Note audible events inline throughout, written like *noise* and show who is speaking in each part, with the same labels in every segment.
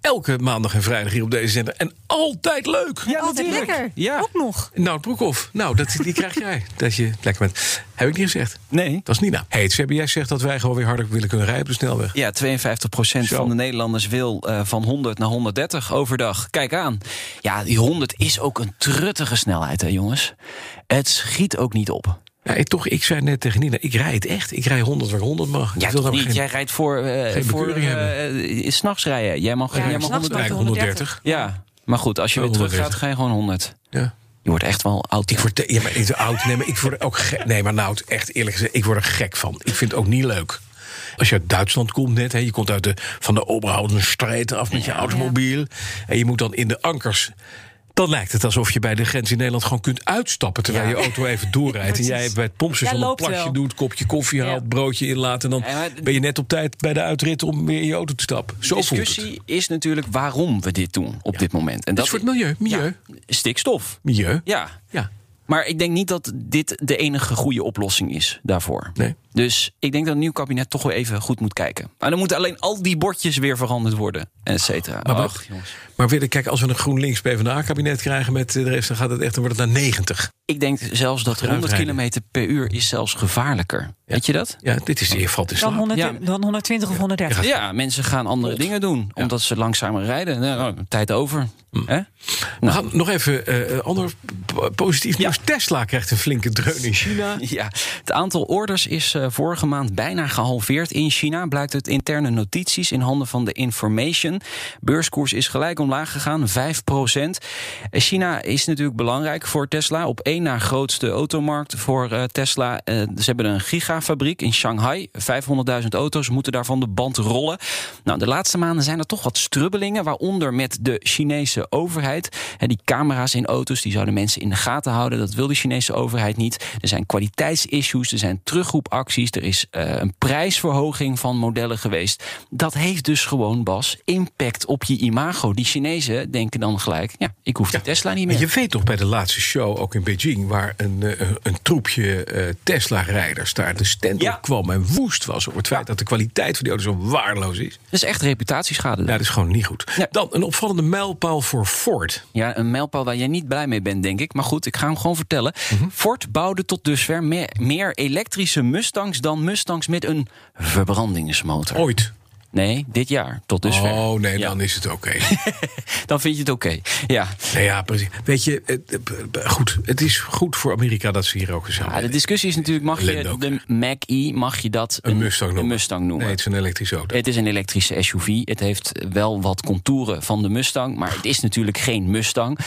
Speaker 1: elke maandag en vrijdag hier op deze zender. En altijd leuk.
Speaker 2: Ja,
Speaker 3: Altijd
Speaker 2: natuurlijk.
Speaker 3: lekker.
Speaker 2: Ja.
Speaker 3: Ook nog.
Speaker 1: Nou, Broekhoff. Nou, dat, die krijg
Speaker 2: *laughs*
Speaker 1: jij. Dat je lekker bent. Heb ik niet gezegd.
Speaker 2: Nee.
Speaker 1: Dat is Nina. Hey, het CBS zegt dat wij gewoon weer harder willen kunnen rijden op de snelweg.
Speaker 4: Ja, 52%
Speaker 1: Zo.
Speaker 4: van de Nederlanders wil eh, van 100 naar 130 overdag. Kijk aan. Ja, die 100 is ook een truttige snelheid, hè, jongens. Het schiet ook niet op.
Speaker 1: Ja, ik- toch, ik zei net tegen Nina, ik rijd het echt. Ik rij 100 waar ik 100 mag.
Speaker 4: Ja,
Speaker 1: ik wil
Speaker 4: toch
Speaker 1: nou
Speaker 4: niet.
Speaker 1: geen-
Speaker 4: Jij rijdt voor, eh,
Speaker 1: geen
Speaker 4: voor
Speaker 1: bekeuring
Speaker 4: eh, s'nachts rijden. Jij mag,
Speaker 3: Ja,
Speaker 4: jij
Speaker 1: ik
Speaker 4: mag
Speaker 3: s'nachts
Speaker 4: 100.
Speaker 3: wel.
Speaker 1: rijd 130.
Speaker 4: Ja, maar goed, als je
Speaker 1: Oh,
Speaker 4: weer terug
Speaker 1: 130.
Speaker 4: gaat, ga je gewoon 100.
Speaker 1: Ja.
Speaker 4: Je wordt echt wel oud.
Speaker 1: Ik word, te- ja, maar ik word oud. Nee, maar ik word er ook gek. Nee, maar nou, echt eerlijk gezegd, ik word er gek van. Ik vind het ook niet leuk. Als je uit Duitsland komt net, hè, je komt uit de, van de Oberhausenstraat af met je automobiel. En je moet dan in de ankers. Dan lijkt het alsof je bij de grens in Nederland gewoon kunt uitstappen. Terwijl je auto even doorrijdt.
Speaker 4: *laughs*
Speaker 1: En
Speaker 3: Precies.
Speaker 1: jij bij het pompstation
Speaker 3: Jij
Speaker 1: een
Speaker 3: loopt
Speaker 1: plasje
Speaker 3: wel.
Speaker 1: doet, kopje koffie haalt, broodje inlaat. En dan
Speaker 4: Ja, maar-
Speaker 1: ben je net op tijd bij de uitrit om weer in je auto te stappen. Zo
Speaker 4: De
Speaker 1: voelt het.
Speaker 4: discussie is natuurlijk waarom we dit doen op dit moment. En
Speaker 1: Dat is voor het milieu. Milieu.
Speaker 4: Ja, stikstof.
Speaker 1: Milieu.
Speaker 4: Ja.
Speaker 1: Ja.
Speaker 4: Maar ik denk niet dat dit de enige goede oplossing is daarvoor.
Speaker 1: Nee.
Speaker 4: Dus ik denk dat een nieuw kabinet toch wel even goed moet kijken. Maar dan moeten alleen al die bordjes weer veranderd worden, et cetera.
Speaker 1: Maar
Speaker 4: Och,
Speaker 1: wacht.
Speaker 4: jongens.
Speaker 1: Maar weer, kijk, als we een GroenLinks PvdA-kabinet krijgen met eh, de rest, dan gaat het echt, dan wordt het naar 90.
Speaker 4: Ik denk zelfs dat
Speaker 1: Achteruit
Speaker 4: 100
Speaker 1: rijden.
Speaker 4: km per uur is zelfs gevaarlijker. Weet je dat?
Speaker 1: Ja, dit is, je valt in
Speaker 3: Dan,
Speaker 1: slaap.
Speaker 3: 100
Speaker 4: Ja.
Speaker 3: dan 120 of 130.
Speaker 4: Ja, mensen gaan andere dingen doen. Omdat ze langzamer rijden. Nou, tijd over.
Speaker 1: Mm.
Speaker 4: Hè?
Speaker 1: We gaan nog even eh, ander p- positief nieuws. Tesla krijgt een flinke dreun in China.
Speaker 4: *laughs* Ja, het aantal orders is eh, vorige maand bijna gehalveerd in China. Blijkt uit interne notities in handen van de Information. Beurskoers is gelijk omlaag gegaan, 5%. Eh, China is natuurlijk belangrijk voor Tesla. Op één na grootste automarkt voor eh, Tesla. Eh, ze hebben een gigafabriek in Shanghai. 500.000 auto's moeten daarvan de band rollen. Nou, de laatste maanden zijn er toch wat strubbelingen. Waaronder met de Chinese overheid. Hè, die camera's in auto's die zouden mensen in de gaten houden. Dat wil de Chinese overheid niet. Er zijn kwaliteitsissues, er zijn terugroepacties. Er is eh, een prijsverhoging van modellen geweest. Dat heeft dus gewoon, Bas, impact op je imago. Die Chinezen denken dan gelijk: ja, ik hoef die Tesla niet
Speaker 1: Maar
Speaker 4: meer.
Speaker 1: je weet toch bij de laatste show, ook in Beijing, waar een, eh, een troepje eh, Tesla-rijders daar de stand
Speaker 4: Ja.
Speaker 1: op kwam en woest was over het feit dat de kwaliteit van die auto zo waardeloos is.
Speaker 4: Dat is echt reputatieschade.
Speaker 1: Nou, dat is gewoon niet goed.
Speaker 4: Nee.
Speaker 1: Dan een opvallende mijlpaal voor Ford.
Speaker 4: Ja, een mijlpaal waar jij niet blij mee bent, denk ik. Maar goed, ik ga hem gewoon vertellen.
Speaker 1: Mhm.
Speaker 4: Ford bouwde tot dusver me- meer elektrische Mustangs dan Mustangs met een verbrandingsmotor.
Speaker 1: Ooit.
Speaker 4: Nee, dit jaar tot dusver.
Speaker 1: Oh nee,
Speaker 4: Ja.
Speaker 1: dan is het oké.
Speaker 4: Dan vind je het oké. Ja.
Speaker 1: Nou ja, precies. Weet je, het, eh, b- b- goed, het is goed voor Amerika dat ze hier ook gezellig
Speaker 4: Ja, Ah, de discussie is natuurlijk, mag
Speaker 1: Ellende
Speaker 4: je
Speaker 1: ook.
Speaker 4: de Mac-E, mag je dat
Speaker 1: Een Mustang noemen.
Speaker 4: een Mustang noemen?
Speaker 1: Nee, het is een elektrische auto.
Speaker 4: Het is een elektrische SUV. Het heeft wel wat contouren van de Mustang, maar het is natuurlijk geen Mustang.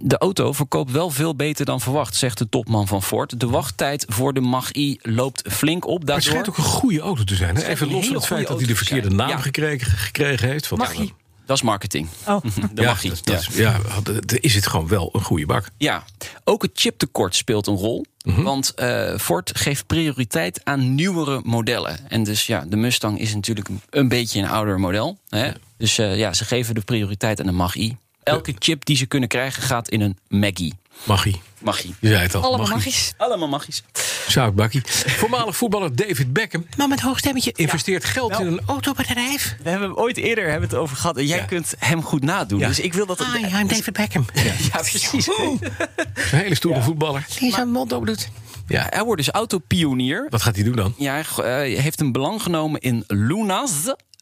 Speaker 4: De auto verkoopt wel veel beter dan verwacht, zegt de topman van Ford. De wachttijd voor de Mach-E loopt flink op.
Speaker 1: Maar het
Speaker 4: Daardoor,
Speaker 1: schijnt ook een goede auto te zijn. Hè?
Speaker 4: schijnt
Speaker 1: Even
Speaker 4: een
Speaker 1: los van
Speaker 4: hele
Speaker 1: het feit
Speaker 4: goede
Speaker 1: dat hij de
Speaker 4: auto te
Speaker 1: verkeerde
Speaker 4: zijn.
Speaker 1: naam
Speaker 4: Ja.
Speaker 1: gekregen, gekregen heeft. Wat
Speaker 3: Mag je?
Speaker 4: dat is marketing.
Speaker 3: Oh,
Speaker 4: De
Speaker 1: ja,
Speaker 4: Mach-E.
Speaker 1: dat, dat is- ja, dat- is het gewoon wel een goede bak.
Speaker 4: Ja, ook het chiptekort speelt een rol.
Speaker 1: Mhm.
Speaker 4: Want eh, Ford geeft prioriteit aan nieuwere modellen. En dus ja, de Mustang is natuurlijk een beetje een ouder model. Hè? Dus eh, ja, ze geven de prioriteit aan de Mach-E. Elke chip die ze kunnen krijgen gaat in een Maggie.
Speaker 1: Magie.
Speaker 4: Maggie.
Speaker 1: Je zei het al.
Speaker 3: allemaal
Speaker 1: Magie.
Speaker 3: magisch.
Speaker 4: Allemaal magisch.
Speaker 1: Zoutbakkie. Voormalig voetballer David Beckham. Maar met hoog stemmetje. Investeert geld in een autobedrijf.
Speaker 4: We hebben hem ooit eerder hebben het over gehad. En jij
Speaker 1: Ja.
Speaker 4: kunt hem goed nadoen.
Speaker 1: Ah, Ja.
Speaker 4: Dus ik wil dat...
Speaker 1: Hi, I'm David Beckham. Ja.
Speaker 4: Ja, precies.
Speaker 1: Een hele stoere voetballer. Die zijn mond op doet. Ja.
Speaker 4: Hij wordt dus autopionier.
Speaker 1: Wat gaat hij doen dan?
Speaker 4: Ja, hij g- eh, heeft een belang genomen in Lunas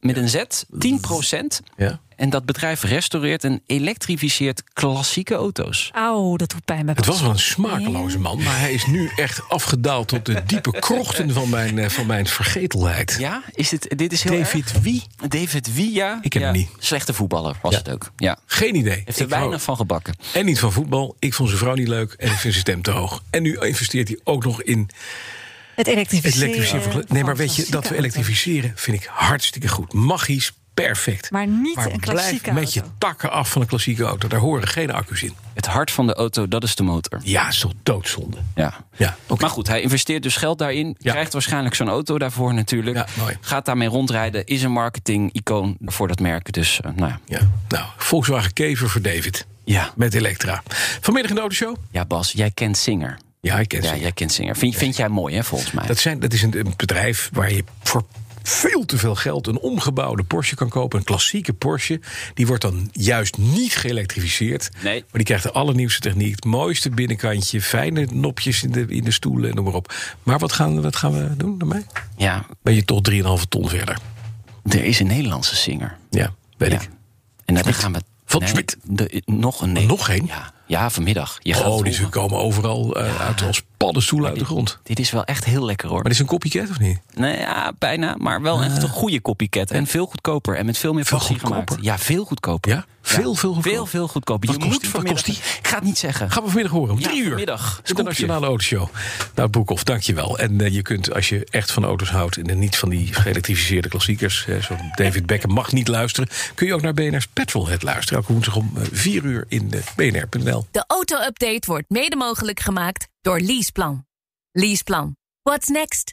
Speaker 4: met een Z, 10
Speaker 1: Ja.
Speaker 4: En dat bedrijf restaureert en elektrificeert klassieke auto's.
Speaker 3: Auw, dat doet pijn bij
Speaker 1: Het
Speaker 3: Bas.
Speaker 1: was wel een smakeloze man, maar hij is nu echt afgedaald tot de diepe krochten van mijn, eh, van mijn vergetelheid.
Speaker 4: Ja, is dit, dit is heel
Speaker 1: David Wie?
Speaker 4: erg. David Villa.
Speaker 1: Ik ken
Speaker 4: ja.
Speaker 1: hem niet.
Speaker 4: Slechte voetballer was
Speaker 1: Ja.
Speaker 4: het ook. Ja.
Speaker 1: Geen idee.
Speaker 4: Heeft er
Speaker 1: Ik
Speaker 4: weinig
Speaker 1: hou-
Speaker 4: van gebakken.
Speaker 1: En niet van voetbal. Ik vond zijn vrouw niet leuk en ik vind zijn stem te hoog. En nu investeert hij ook nog in
Speaker 3: Het
Speaker 1: het
Speaker 3: elektrificeren.
Speaker 1: elektrificeren. van-
Speaker 3: van
Speaker 1: Nee, maar weet je, dat we
Speaker 3: klassieke
Speaker 1: elektrificeren vind ik hartstikke goed. Magisch, perfect.
Speaker 3: Maar niet een
Speaker 1: blijf
Speaker 3: klassieke
Speaker 1: met je
Speaker 3: auto.
Speaker 1: takken af van een klassieke auto. Daar horen geen accu's in.
Speaker 4: Het hart van de auto, dat is de motor.
Speaker 1: Ja, is toch doodzonde.
Speaker 4: Ja.
Speaker 1: Ja, oké.
Speaker 4: Maar goed, hij investeert dus geld daarin.
Speaker 1: Ja.
Speaker 4: Krijgt waarschijnlijk zo'n auto daarvoor natuurlijk.
Speaker 1: Ja, mooi.
Speaker 4: Gaat daarmee rondrijden. Is een marketing-icoon voor dat merk. Dus eh, nou ja.
Speaker 1: Ja. Nou, Volkswagen Kever voor David.
Speaker 4: Ja.
Speaker 1: Met Elektra. Vanmiddag in de autoshow?
Speaker 4: ja, Bas, jij kent Singer.
Speaker 1: Ja, ik ken
Speaker 4: Ja,
Speaker 1: ze.
Speaker 4: jij kent Singer. Vind, vind jij mooi, hè, volgens mij?
Speaker 1: Dat, zijn, dat is een, een bedrijf waar je voor veel te veel geld een omgebouwde Porsche kan kopen. Een klassieke Porsche. Die wordt dan juist niet geëlektrificeerd.
Speaker 4: Nee.
Speaker 1: Maar die krijgt de allernieuwste techniek. Het mooiste binnenkantje. Fijne nopjes in de, in de stoelen en noem maar op. Maar wat gaan, wat gaan we doen daarmee?
Speaker 4: Ja,
Speaker 1: Ben je toch 3,5 ton verder.
Speaker 4: er is een Nederlandse Singer.
Speaker 1: Ja, weet
Speaker 4: Ja.
Speaker 1: ik.
Speaker 4: En daar gaan we...
Speaker 1: Van
Speaker 4: nee,
Speaker 1: Smit.
Speaker 4: de- nog een nee.
Speaker 1: Nog één?
Speaker 4: Ja, ja vanmiddag. Je gaat het
Speaker 1: Oh, die ze
Speaker 4: horen.
Speaker 1: komen overal eh, uit als paddenstoelen uit de grond. Maar
Speaker 4: Dit is wel echt heel lekker, hoor.
Speaker 1: dit is een copycat of niet?
Speaker 4: Nee, ja, bijna, maar wel echt een goede copycat. En veel goedkoper en met veel meer
Speaker 1: Ah. Veel
Speaker 4: passie gemaakt.
Speaker 1: goedkoper?
Speaker 4: Ja, veel goedkoper.
Speaker 1: Ja? Veel, veel goedkoper?
Speaker 4: Veel, veel goedkoper.
Speaker 1: Wat
Speaker 4: je
Speaker 1: kost
Speaker 4: moet
Speaker 1: die? Wat
Speaker 4: vanmiddag...
Speaker 1: kost die?
Speaker 4: Ik ga het niet zeggen.
Speaker 1: Gaan we vanmiddag horen om
Speaker 4: Ja,
Speaker 1: drie uur.
Speaker 4: vanmiddag. Scoopje.
Speaker 1: Internationale Autoshow. Nou, Broekhoff, dankjewel. En eh, je kunt, als je echt van auto's houdt... en niet van die geëlektrificeerde klassiekers... eh, zoals David Beckham mag niet luisteren... kun je ook naar BNR's Petrolhead luisteren. Elke woensdag om eh, vier uur in eh, bnr.nl.
Speaker 2: De auto-update wordt mede mogelijk gemaakt door Leaseplan. Leaseplan. What's next?